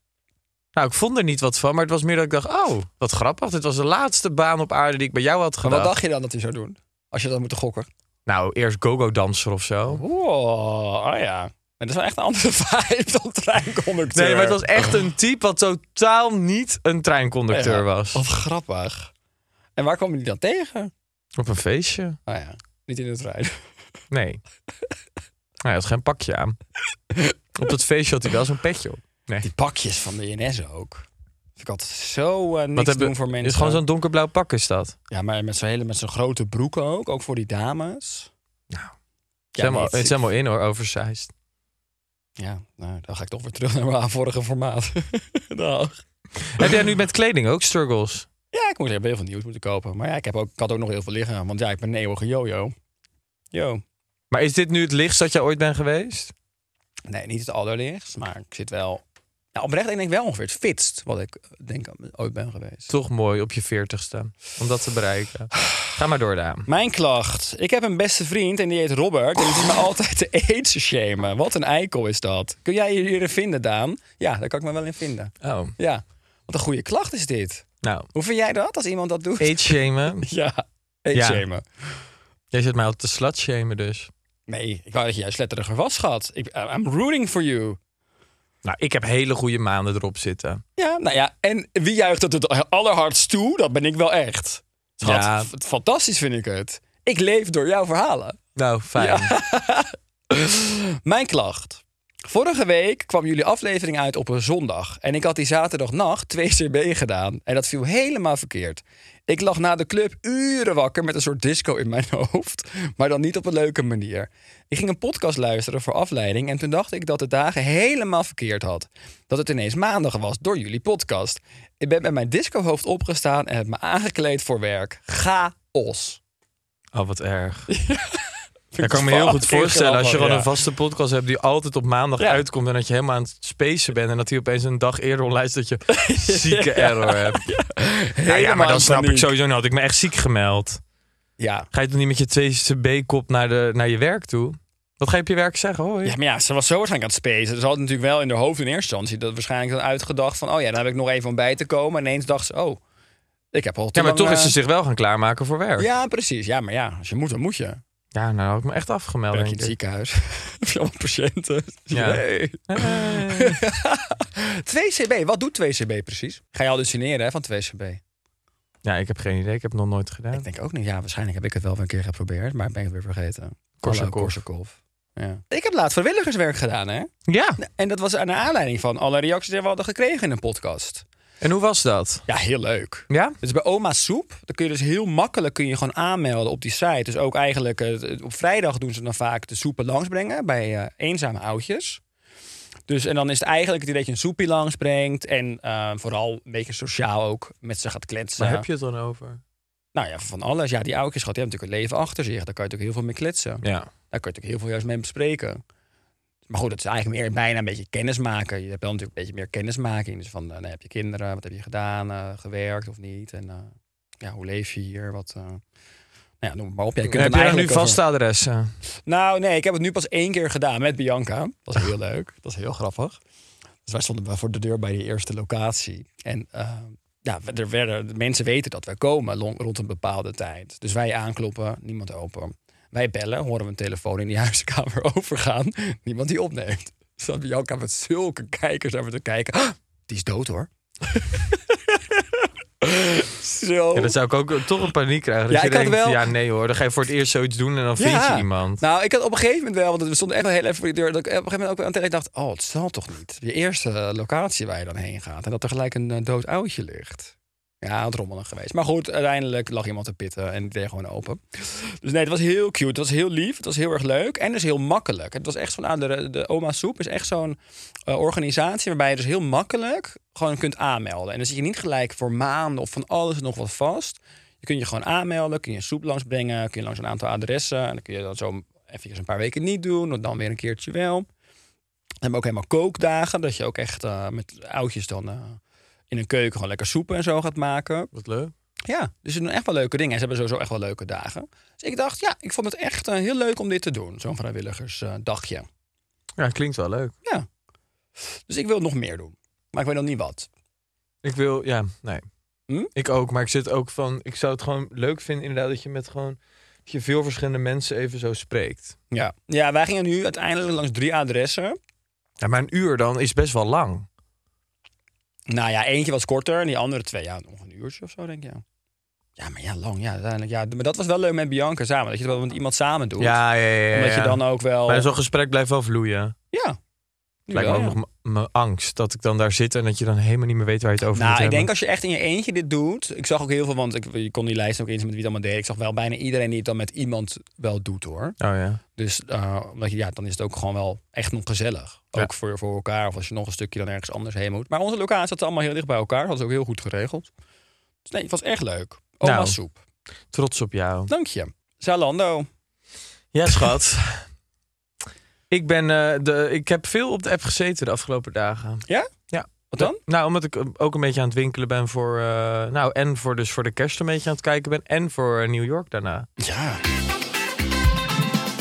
S5: nou, ik vond er niet wat van, maar het was meer dat ik dacht... Oh, wat grappig. Dit was de laatste baan op aarde die ik bij jou had
S4: Maar
S5: gedaan.
S4: wat dacht je dan dat hij zou doen? Als je dat moet gokken.
S5: Nou, eerst go-go-danser of zo.
S4: Wow, ah ja. En dat is wel echt een andere vibe dan treinconducteur.
S5: Nee, maar het was echt een type wat totaal niet een treinconducteur
S4: Oh. Ja.
S5: was.
S4: Wat grappig. En waar kwam je die dan tegen?
S5: Op een feestje.
S4: Ah ja. Niet in het rijden.
S5: Nee. Hij had geen pakje aan. Op dat feestje had hij wel zo'n petje op. Nee.
S4: Die pakjes van de INS ook. Ik had zo eh, niks
S5: Wat hebben-
S4: doen voor mensen.
S5: Is gewoon zo'n donkerblauw pak is dat.
S4: Ja, maar met zo'n hele, met zo'n grote broeken ook. Ook voor die dames.
S5: Nou, Het is helemaal-
S4: niet-
S5: het is helemaal in hoor, oversized.
S4: Ja, nou, dan ga ik toch weer terug naar mijn vorige formaat. Dag.
S5: Heb jij nu met kleding ook struggles?
S4: Ja, ik moest even heel veel nieuws moeten kopen. Maar ja, ik, heb ook, ik had ook nog heel veel liggen. Want ja, ik ben een eeuwige yo-yo. Yo.
S5: Maar is dit nu het lichtst dat jij ooit bent geweest?
S4: Nee, niet het allerlichtst. Maar ik zit wel... Ja, oprecht, ik denk wel ongeveer het fitst wat ik eh, denk ooit ben geweest.
S5: Toch mooi op je veertigste. Om dat te bereiken. Ga maar door, Daan.
S4: Mijn klacht. Ik heb een beste vriend en die heet Robert. En die zit me altijd te aids shamen. Wat een eikel is dat. Kun jij je hierin vinden, Daan? Ja, daar kan ik me wel in vinden.
S5: Oh,
S4: Ja. Wat een goede klacht is dit.
S5: nou.
S4: Hoe vind jij dat als iemand dat doet?
S5: Eet shamen.
S4: Ja, aids
S5: Ja.
S4: shamen.
S5: Jij zit mij altijd te slut shamen dus.
S4: Nee, ik wou dat je juist letteriger was, schat. Ik, eh, I'm rooting for you.
S5: Nou, ik heb hele goede maanden erop zitten.
S4: Ja, nou ja, en wie juicht het het allerhardst toe? Dat ben ik wel echt. Schat,
S5: Ja.
S4: f- fantastisch vind ik het. Ik leef door jouw verhalen.
S5: Nou, fijn.
S4: Mijn klacht. Vorige week kwam jullie aflevering uit op een zondag. En ik had die zaterdagnacht 2CB gedaan. En dat viel helemaal verkeerd. Ik lag na de club uren wakker met een soort disco in mijn hoofd. Maar dan niet op een leuke manier. Ik ging een podcast luisteren voor afleiding. En toen dacht ik dat de dagen helemaal verkeerd had. Dat het ineens maandag was door jullie podcast. Ik ben met mijn discohoofd opgestaan en heb me aangekleed voor werk. Chaos.
S5: Oh, wat erg. Ik kan ik me heel goed
S4: Fucking
S5: voorstellen als je
S4: grappig,
S5: gewoon
S4: ja.
S5: een vaste podcast hebt die altijd op maandag
S4: Ja.
S5: uitkomt en dat je helemaal aan het spacen bent en dat die opeens een dag eerder online is dat je zieke error hebt. Ja, ja, maar
S4: Helemaal
S5: dan
S4: in
S5: snap ik
S4: paniek.
S5: sowieso, nou had ik me echt ziek gemeld.
S4: Ja,
S5: Ga je dan niet met je 2 B-kop naar, de- naar je werk toe? Wat ga je op je werk zeggen? Hoi.
S4: Ja, maar ja, ze was zo waarschijnlijk aan het spacen. Ze had natuurlijk wel in haar hoofd in eerste instantie dat waarschijnlijk dan uitgedacht van... oh ja, dan heb ik nog even om bij te komen. En ineens dacht ze, oh, ik heb al te
S5: Ja, maar
S4: lang,
S5: toch is
S4: eh,
S5: ze zich wel gaan klaarmaken voor werk. Ja,
S4: Ja, precies. Ja, maar ja, als je moet, dan moet je.
S5: nou had ik me echt afgemeld.
S4: Werk je in het
S5: denk ik.
S4: ziekenhuis. heb je allemaal patiënten.
S5: Ja.
S4: Nee.
S5: Hey.
S4: 2CB, wat doet 2CB precies? Ga je hallucineren hè, van 2CB?
S5: Ja, ik heb geen idee. Ik heb het nog nooit gedaan.
S4: Ik denk ook niet. Ja, waarschijnlijk heb ik het wel weer een keer geprobeerd, maar ben ik het weer vergeten.
S5: Korsakov.
S4: Hallo, Korsakov. Ja. Ik heb laatst vrijwilligerswerk gedaan, hè?
S5: Ja,
S4: En dat was aan de aanleiding van alle reacties die we hadden gekregen in een podcast.
S5: en hoe was dat?
S4: Ja, heel leuk.
S5: Ja?
S4: Dus bij Oma Soep, dan kun je dus heel makkelijk kun je gewoon aanmelden op die site. Dus ook eigenlijk, eh, het- op vrijdag doen ze dan vaak de soepen langsbrengen bij eh, eenzame oudjes. Dus en dan is het eigenlijk het idee dat je een soepie langsbrengt. En eh, vooral een beetje sociaal ook met ze gaat kletsen.
S5: Waar heb je het dan over?
S4: Nou ja, van alles. Ja, die oudjes gaat, die hebben natuurlijk een leven achter zich. Daar kan je natuurlijk heel veel mee kletsen.
S5: Ja.
S4: Daar kun je natuurlijk heel veel juist mee bespreken. Maar goed, het is eigenlijk meer bijna een beetje kennismaken. Je hebt wel natuurlijk een beetje meer kennismaking. Dus van, eh, nou, heb je kinderen? Wat heb je gedaan? eh, gewerkt of niet? En eh, ja, hoe leef je hier? Wat, eh, nou ja, noem het maar op. Jij kunt
S5: heb
S4: dan
S5: jij nu
S4: eigenlijk over-
S5: vaste adressen?
S4: Nou, nee, ik heb het nu pas één keer gedaan met Bianca. Dat was heel leuk. Dat is heel grappig. Dus wij stonden voor de deur bij die eerste locatie. En eh, ja, we- er werden, de mensen weten dat wij komen long- rond een bepaalde tijd. Dus wij aankloppen, niemand open. Wij bellen, horen we een telefoon in die huiskamer overgaan. Niemand die opneemt. Dus dan Bianca met zulke kijkers over te kijken. Ah, die is dood hoor. Zo.
S5: Ja, dat zou ik ook toch een paniek krijgen. Dat
S4: Ja,
S5: je
S4: ik had
S5: denkt,
S4: wel-
S5: ja nee hoor, dan ga je voor het eerst zoiets doen en dan vind je iemand.
S4: Nou, ik had op een gegeven moment wel, want we stonden echt wel heel even voor de deur. Dat ik op een gegeven moment ook wel aan het denken dacht: oh, het zal toch niet. Je eerste eh, locatie waar je dan heen gaat en dat er gelijk een eh, dood oudje ligt. Ja, het rommelig geweest. Maar goed, uiteindelijk lag iemand te pitten en die deed gewoon open. Dus nee, het was heel cute. Het was heel lief. Het was heel erg leuk. En dus heel makkelijk. Het was echt zo'n aan de, de Oma Soep is echt zo'n eh, organisatie waarbij je dus heel makkelijk gewoon kunt aanmelden. En dan zit je niet gelijk voor maanden of van alles en nog wat vast. Je kunt je gewoon aanmelden, kun je soep langsbrengen, kun je langs een aantal adressen. En dan kun je dat zo even een paar weken niet doen, en dan weer een keertje wel. We hebben ook helemaal kookdagen, dat je ook echt eh, met oudjes dan eh, in een keuken gewoon lekker soepen en zo gaat maken.
S5: Wat leuk.
S4: Ja, dus ze doen echt wel leuke dingen. En ze hebben sowieso echt wel leuke dagen. Dus ik dacht, ja, ik vond het echt eh, heel leuk om dit te doen. Zo'n vrijwilligersdagje.
S5: Ja, klinkt wel leuk.
S4: ja. Dus ik wil nog meer doen. Maar ik weet nog niet wat.
S5: Ik wil, ja, nee.
S4: Hm?
S5: Ik ook, maar ik zit ook van, ik zou het gewoon leuk vinden inderdaad dat je met gewoon, dat je veel verschillende mensen even zo spreekt.
S4: Ja. ja, wij gingen nu uiteindelijk langs drie adressen.
S5: Ja, maar een uur dan is best wel lang.
S4: Nou ja, eentje was korter en die andere twee, ja, nog een uurtje of zo, denk ik. Ja, Ja, maar ja, lang. Ja, uiteindelijk. Ja, maar dat was wel leuk met Bianca samen. Dat je het wel met iemand samen doet.
S5: Ja, ja, ja. ja,
S4: Omdat je
S5: ja.
S4: dan ook wel...
S5: Maar zo'n gesprek blijft wel vloeien.
S4: Ja. Nu
S5: Het lijkt me
S4: wel,
S5: ook
S4: ja.
S5: nog m- mijn angst. Dat ik dan daar zit en dat je dan helemaal niet meer weet waar je het over
S4: Nou,
S5: moet
S4: ik
S5: hebben.
S4: denk als je echt in je eentje dit doet. Ik zag ook heel veel, want ik, je kon die lijst ook inzien met wie het allemaal deed. Ik zag wel bijna iedereen die het dan met iemand wel doet hoor.
S5: Oh ja.
S4: Dus eh, omdat je, ja, dan is het ook gewoon wel echt nog gezellig.
S5: Ja.
S4: Ook voor, voor elkaar. Of als je nog een stukje dan ergens anders heen moet. Maar onze locatie zat allemaal heel dicht bij elkaar. Dat is ook heel goed geregeld. Dus nee, het was echt leuk. Oma
S5: Nou.
S4: soep.
S5: Trots op jou.
S4: Dank je. Zalando.
S5: Ja, schat. ik, ben, eh, de, ik heb veel op de app gezeten de afgelopen dagen.
S4: Ja?
S5: Ja.
S4: Wat dan?
S5: Nou, omdat ik eh, ook een beetje aan het winkelen ben voor... eh, nou, en voor, dus voor de kerst een beetje aan het kijken ben. En voor eh, New York daarna.
S4: Ja.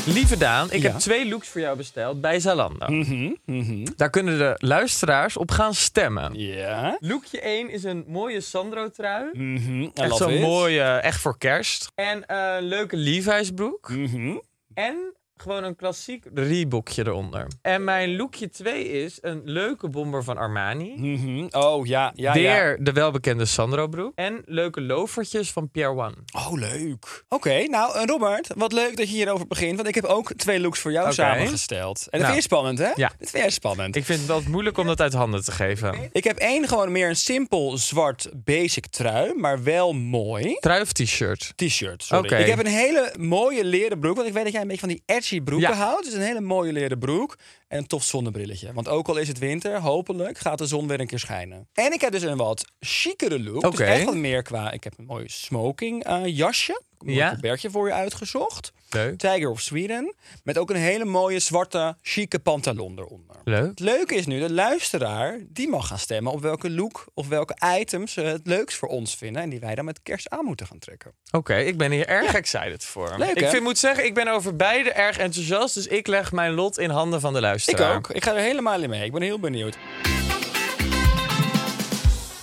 S5: Lieve Daan, ik
S4: Ja.
S5: heb twee looks voor jou besteld bij Zalando.
S4: Mhm, mhm.
S5: Daar kunnen de luisteraars op gaan stemmen.
S4: Ja.
S5: Lookje 1 is een mooie Sandro-trui.
S4: Mhm. I
S5: Echt
S4: love
S5: zo'n
S4: it.
S5: mooie, eh, echt voor kerst. En eh, een leuke Levi's broek.
S4: Mhm.
S5: En gewoon een klassiek Reebokje eronder. En mijn lookje 2 is een leuke bomber van Armani.
S4: Mhm. Oh ja, ja, ja.
S5: Weer de welbekende Sandro broek. En leuke lovertjes van Pierre One.
S4: Oh, leuk. Oké, nou eh, Robert, wat leuk dat je hierover begint. Want ik heb ook twee looks voor jou
S5: Oké.
S4: samengesteld. En dat
S5: Nou.
S4: vind je spannend, hè?
S5: Ja.
S4: Dat vind jij spannend.
S5: Ik
S4: Ik...
S5: vind het altijd moeilijk om dat uit handen te geven.
S4: heb één gewoon meer een simpel zwart basic trui, maar wel mooi.
S5: Trui of t-shirt?
S4: T-shirt, sorry.
S5: Oké.
S4: Ik heb een hele mooie leren broek, want ik weet dat jij een beetje van die edgy broeken
S5: Ja.
S4: houdt. Dus een hele mooie leren broek en een tof zonnebrilletje. Want ook al is het winter, hopelijk gaat de zon weer een keer schijnen. En ik heb dus een wat chicere look. Dus
S5: Oké.
S4: echt wat meer qua... Ik heb een mooi smoking eh, jasje. Een
S5: Ja.
S4: ja. bergje voor je uitgezocht.
S5: Leuk.
S4: Tiger of Sweden. Met ook een hele mooie zwarte, chique pantalon eronder.
S5: Leuk.
S4: Het leuke is nu, de luisteraar die mag gaan stemmen op welke look of welke items ze het leukst voor ons vinden. En die wij dan met kerst aan moeten gaan trekken.
S5: Oké, ik ben hier erg excited voor.
S4: Leuk,
S5: ik
S4: hè?
S5: vind, moet zeggen, ik ben over beide erg enthousiast. Dus ik leg mijn lot in handen van de luisteraar.
S4: Ik ook. Ik ga er helemaal in mee. Ik ben heel benieuwd.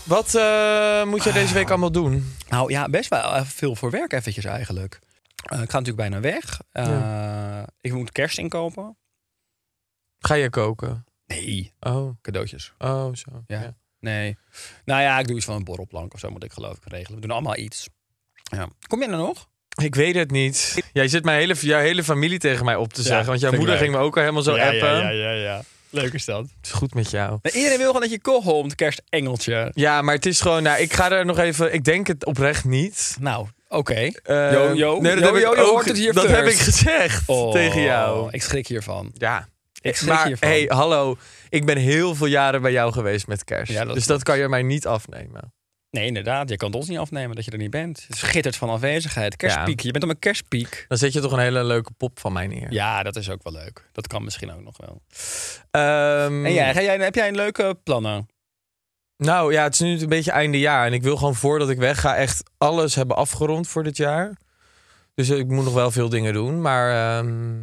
S5: Wat eh, moet jij deze
S4: Ah.
S5: week allemaal doen?
S4: Nou ja, best wel eh, veel voor werk eventjes eigenlijk. Eh, ik ga natuurlijk bijna weg. Eh, Ik moet kerst inkopen.
S5: Ga je koken?
S4: Nee,
S5: Oh,
S4: cadeautjes.
S5: oh, zo.
S4: Ja. Nee. Nou ja, ik doe iets van een borrelplank of zo moet ik geloof ik regelen. We doen allemaal iets. Ja. Kom jij er nog?
S5: Ik weet het niet. Jij zit mijn hele, jouw hele familie tegen mij op te
S4: Ja,
S5: zeggen. Want jouw
S4: vind ik
S5: moeder
S4: leuk.
S5: ging me ook al helemaal zo appen.
S4: ja, ja. Leuk is dat.
S5: Het is goed met jou.
S4: Maar Eh, iedereen wil gewoon dat je komt, kerstengeltje.
S5: Ja, maar het is gewoon... Nou, ik ga er nog even... Ik denk het oprecht niet.
S4: Nou, oké.
S5: Eh,
S4: Yo, yo,
S5: nee, dat
S4: yo,
S5: heb
S4: yo,
S5: ik
S4: je
S5: ook-
S4: hoort het hier
S5: Dat
S4: first.
S5: heb ik gezegd
S4: Oh,
S5: tegen jou.
S4: Ik schrik hiervan.
S5: Ja.
S4: Ik schrik
S5: maar
S4: hiervan.
S5: hey, hallo. Ik ben heel veel jaren bij jou geweest met kerst.
S4: Ja, dat
S5: dus
S4: klopt.
S5: dat kan je mij niet afnemen.
S4: Nee, inderdaad. Je kan het ons niet afnemen dat je er niet bent. Het schittert van afwezigheid. Kerstpiek. Je bent op een kerstpiek.
S5: Dan zet je toch een hele leuke pop van mij neer.
S4: Ja, dat is ook wel leuk. Dat kan misschien ook nog wel.
S5: Ehm,
S4: En jij, ga jij, heb jij een leuke plannen?
S5: Nou ja, het is nu een beetje einde jaar. En ik wil gewoon voordat ik wegga echt alles hebben afgerond voor dit jaar. Dus ik moet nog wel veel dingen doen. Maar ehm,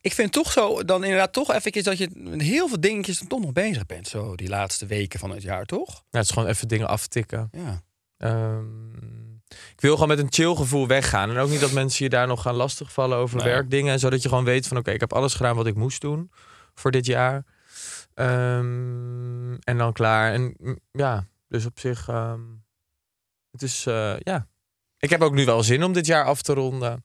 S4: Ik vind toch zo, dan inderdaad toch eventjes dat je met heel veel dingetjes dan toch nog bezig bent. Zo die laatste weken van het jaar, toch?
S5: ja, het is gewoon even dingen aftikken.
S4: Ja.
S5: Ehm, ik wil gewoon met een chill gevoel weggaan. En ook niet dat mensen je daar nog gaan lastigvallen over
S4: Nee.
S5: werkdingen. Zodat je gewoon weet van oké, ik heb alles gedaan wat ik moest doen voor dit jaar. Ehm, en dan klaar. En mm, ja, dus op zich... ehm, het is, eh, ja. Ik heb ook nu wel zin om dit jaar af te ronden.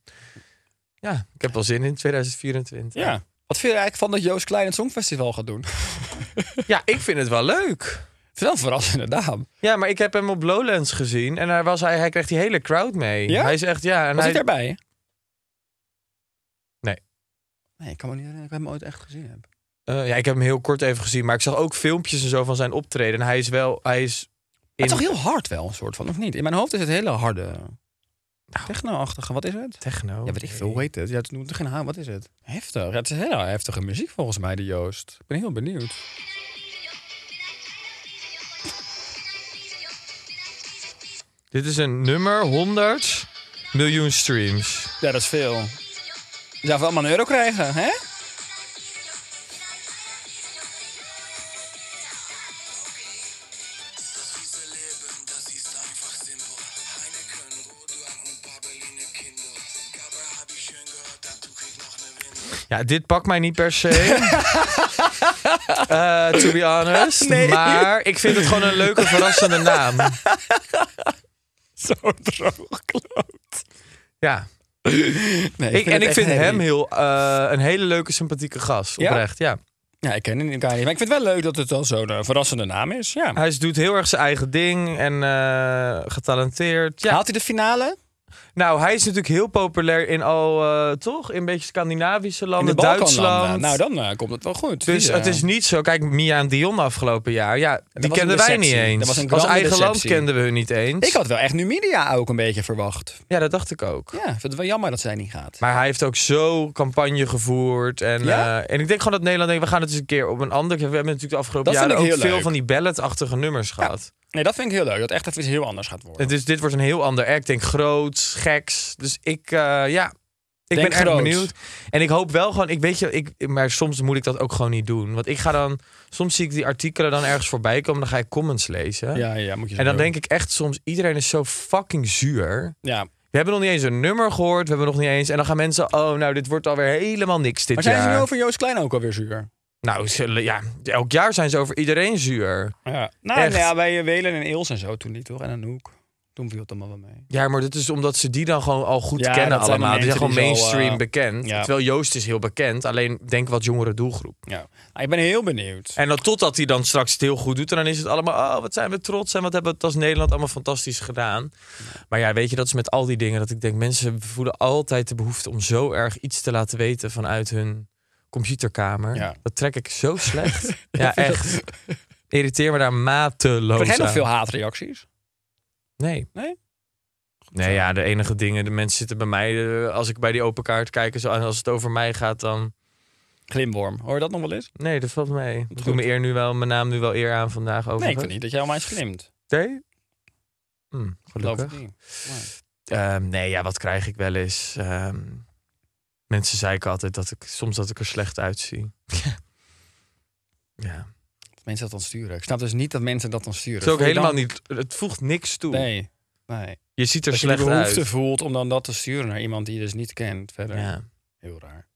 S5: Ja, ik heb wel zin in 2024.
S4: Ja. Wat vind je eigenlijk van dat Joost Klein het Songfestival gaat doen?
S5: ja ik vind het wel leuk.
S4: Het is wel een verrassende naam.
S5: Ja, maar ik heb hem op Lowlands gezien. En daar was hij, hij kreeg die hele crowd mee.
S4: Ja?
S5: Hij is echt, ja. En
S4: Was
S5: hij,
S4: hij daarbij?
S5: Nee.
S4: Nee, ik kan me niet herinneren dat ik hem ooit echt gezien heb.
S5: Eh, ja, ik heb hem heel kort even gezien, maar ik zag ook filmpjes en zo van zijn optreden. En hij is wel, hij is.
S4: Maar
S5: in-
S4: Het is toch heel hard wel, een soort van, of niet? In mijn hoofd is het hele harde, techno-achtige. Wat is het?
S5: Nou. techno.
S4: Ja, weet ik veel. Hoe heet het? Ja, het noemt geen naam. Wat is het? Heftig. Ja, het is hele heftige muziek volgens mij, de Joost. Ik ben heel benieuwd.
S5: Dit is een nummer 100 miljoen streams.
S4: Ja, dat is veel. Je zou wel allemaal een euro krijgen, hè?
S5: Ja, dit pakt mij niet per se. Eh, to be honest. Maar ik vind het gewoon een leuke, verrassende naam.
S4: zo droog kloot.
S5: Ja.
S4: Nee,
S5: Ik, en
S4: het
S5: ik vind
S4: echt
S5: hem
S4: heavy.
S5: heel, eh, een hele leuke, sympathieke gast.
S4: Ja?
S5: Oprecht, ja.
S4: Ja, ik ken hem elkaar niet. Maar ik vind het wel leuk dat het dan zo'n eh, verrassende naam is. Ja.
S5: Hij is- doet heel erg zijn eigen ding en eh, getalenteerd. Ja.
S4: Haalt hij de finale?
S5: Nou, hij is natuurlijk heel populair in al, eh, toch? In een beetje Scandinavische
S4: In
S5: landen,
S4: de
S5: Duitsland.
S4: Balkanlanden. Nou, dan eh, komt het wel goed.
S5: Dus
S4: Die, eh,
S5: het is niet zo. Kijk, Mia en Dion afgelopen jaar. Ja, die
S4: was een
S5: kenden wij niet
S4: deceptie.
S5: eens.
S4: Dat was een
S5: Als
S4: grande
S5: eigen land
S4: deceptie.
S5: kenden we hun niet eens.
S4: Ik had wel echt nu media ook een beetje verwacht.
S5: Ja, dat dacht ik ook.
S4: Ja, ik vind het wel jammer dat zij niet gaat.
S5: Maar hij heeft ook zo campagne gevoerd. En,
S4: Ja?
S5: eh, en ik denk gewoon dat Nederland denkt, we gaan het eens een keer op een ander... We hebben natuurlijk de afgelopen
S4: Dat vind
S5: jaren ook
S4: ik heel
S5: veel
S4: leuk.
S5: van die balletachtige nummers gehad.
S4: Nee, dat vind ik heel leuk. Dat echt even iets heel anders gaat worden.
S5: Dus dit wordt een heel ander act. Ik denk groots, geks. Dus ik, eh, ja, ik
S4: Denk
S5: ben erg
S4: groot.
S5: benieuwd. En ik hoop wel gewoon, ik weet je, ik, maar soms moet ik dat ook gewoon niet doen. Want ik ga dan, soms zie ik die artikelen dan ergens voorbij komen. Dan ga ik comments lezen.
S4: ja, ja, moet je zo
S5: En dan
S4: doen.
S5: denk ik echt soms, iedereen is zo fucking zuur.
S4: Ja.
S5: We hebben nog niet eens een nummer gehoord. We hebben nog niet eens. En dan gaan mensen, oh nou, dit wordt alweer helemaal niks dit
S4: Maar zijn
S5: jaar.
S4: ze nu over Joost Klein ook alweer zuur?
S5: Nou, ze- ja, elk jaar zijn ze over iedereen zuur.
S4: Ja. Nou,
S5: Echt.
S4: nou ja, bij Welen en Eels en zo toen niet, toch? En een hoek. Toen viel het allemaal wel mee.
S5: Ja, maar dat is omdat ze die dan gewoon al goed
S4: Ja,
S5: kennen
S4: dat zijn de
S5: allemaal. Die zijn gewoon
S4: mensen die zo,
S5: mainstream
S4: eh,
S5: bekend.
S4: ja.
S5: Terwijl Joost is heel bekend, alleen denk wat jongere doelgroep.
S4: Ja. Ah, ik ben heel benieuwd.
S5: En dan totdat hij dan straks het heel goed doet. En dan is het allemaal, oh, wat zijn we trots en wat hebben we het als Nederland allemaal fantastisch gedaan. Maar ja, weet je, dat is met al die dingen dat ik denk, mensen voelen altijd de behoefte om zo erg iets te laten weten vanuit hun computerkamer.
S4: Ja.
S5: Dat trek ik zo slecht. ja, echt. Irriteer me daar mateloos
S4: Krijg jij nog
S5: aan.
S4: veel haatreacties?
S5: Nee.
S4: Nee?
S5: Nee, ja, de enige dingen, de mensen zitten bij mij, eh, als ik bij die open kaart kijk en zo, en als het over mij gaat, dan...
S4: Glimworm. Hoor je dat nog wel eens?
S5: Nee, dat valt mee. Ik doe
S4: goed.
S5: mijn, eer nu wel, mijn naam nu wel eer aan vandaag over.
S4: Nee, ik vind niet dat jij allemaal eens glimt.
S5: Nee? Hm,
S4: Geloof ik
S5: gelukkig.
S4: niet. Nee.
S5: Ehm, nee, ja, wat krijg ik wel eens? Ehm, mensen zeiken altijd dat ik soms dat ik er slecht uitzie. ja.
S4: Dat Mensen dat dan sturen. Ik snap dus niet dat mensen dat dan sturen.
S5: Het is ook
S4: Voel je
S5: helemaal
S4: dan-
S5: niet. Het voegt niks toe.
S4: Nee. Nee.
S5: Je ziet er
S4: Dat je de
S5: slecht uit.
S4: behoefte voelt om dan dat te sturen naar iemand die je dus niet kent. Verder.
S5: Ja.
S4: Heel raar.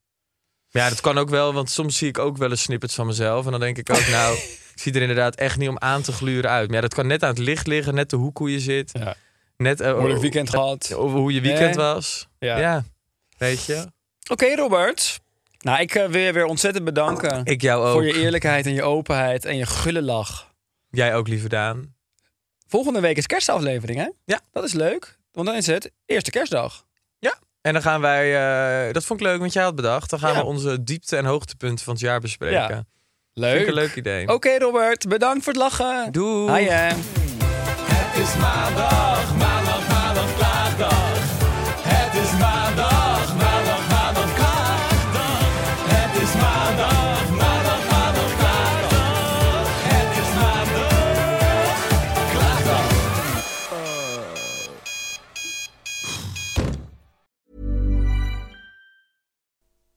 S5: ja, dat kan ook wel, want soms zie ik ook wel eens snippets van mezelf en dan denk ik ook nou, ik zie er inderdaad echt niet om aan te gluren uit. Maar ja, dat kan net aan het licht liggen, net de hoek hoe je zit,
S4: Ja.
S5: net eh,
S4: Moeilijk weekend gehad.
S5: eh, hoe je weekend
S4: Nee.
S5: was.
S4: Ja.
S5: ja, weet je.
S4: Oké, Robert. Nou, ik eh, wil je weer ontzettend bedanken.
S5: Ik jou ook.
S4: Voor je eerlijkheid en je openheid en je gulle lach.
S5: Jij ook, lieve Daan.
S4: Volgende week is kerstaflevering, hè?
S5: Ja.
S4: Dat is leuk. Want dan is het eerste kerstdag.
S5: En dan gaan wij, eh, dat vond ik leuk, want jij had bedacht. Dan gaan
S4: Ja.
S5: we onze diepte- en hoogtepunten van het jaar bespreken.
S4: Ja.
S5: Vind
S4: Leuk.
S5: ik een leuk idee.
S4: Oké, Robert. Bedankt voor het lachen.
S5: Doei.
S4: Hi, hè.
S3: Het is maandag, maandag, maandag, klaagdag. Het is maandag, maandag, maandag, klaagdag. Het is maandag, maandag, maandag, klaagdag. Het is maandag, klaagdag.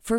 S7: For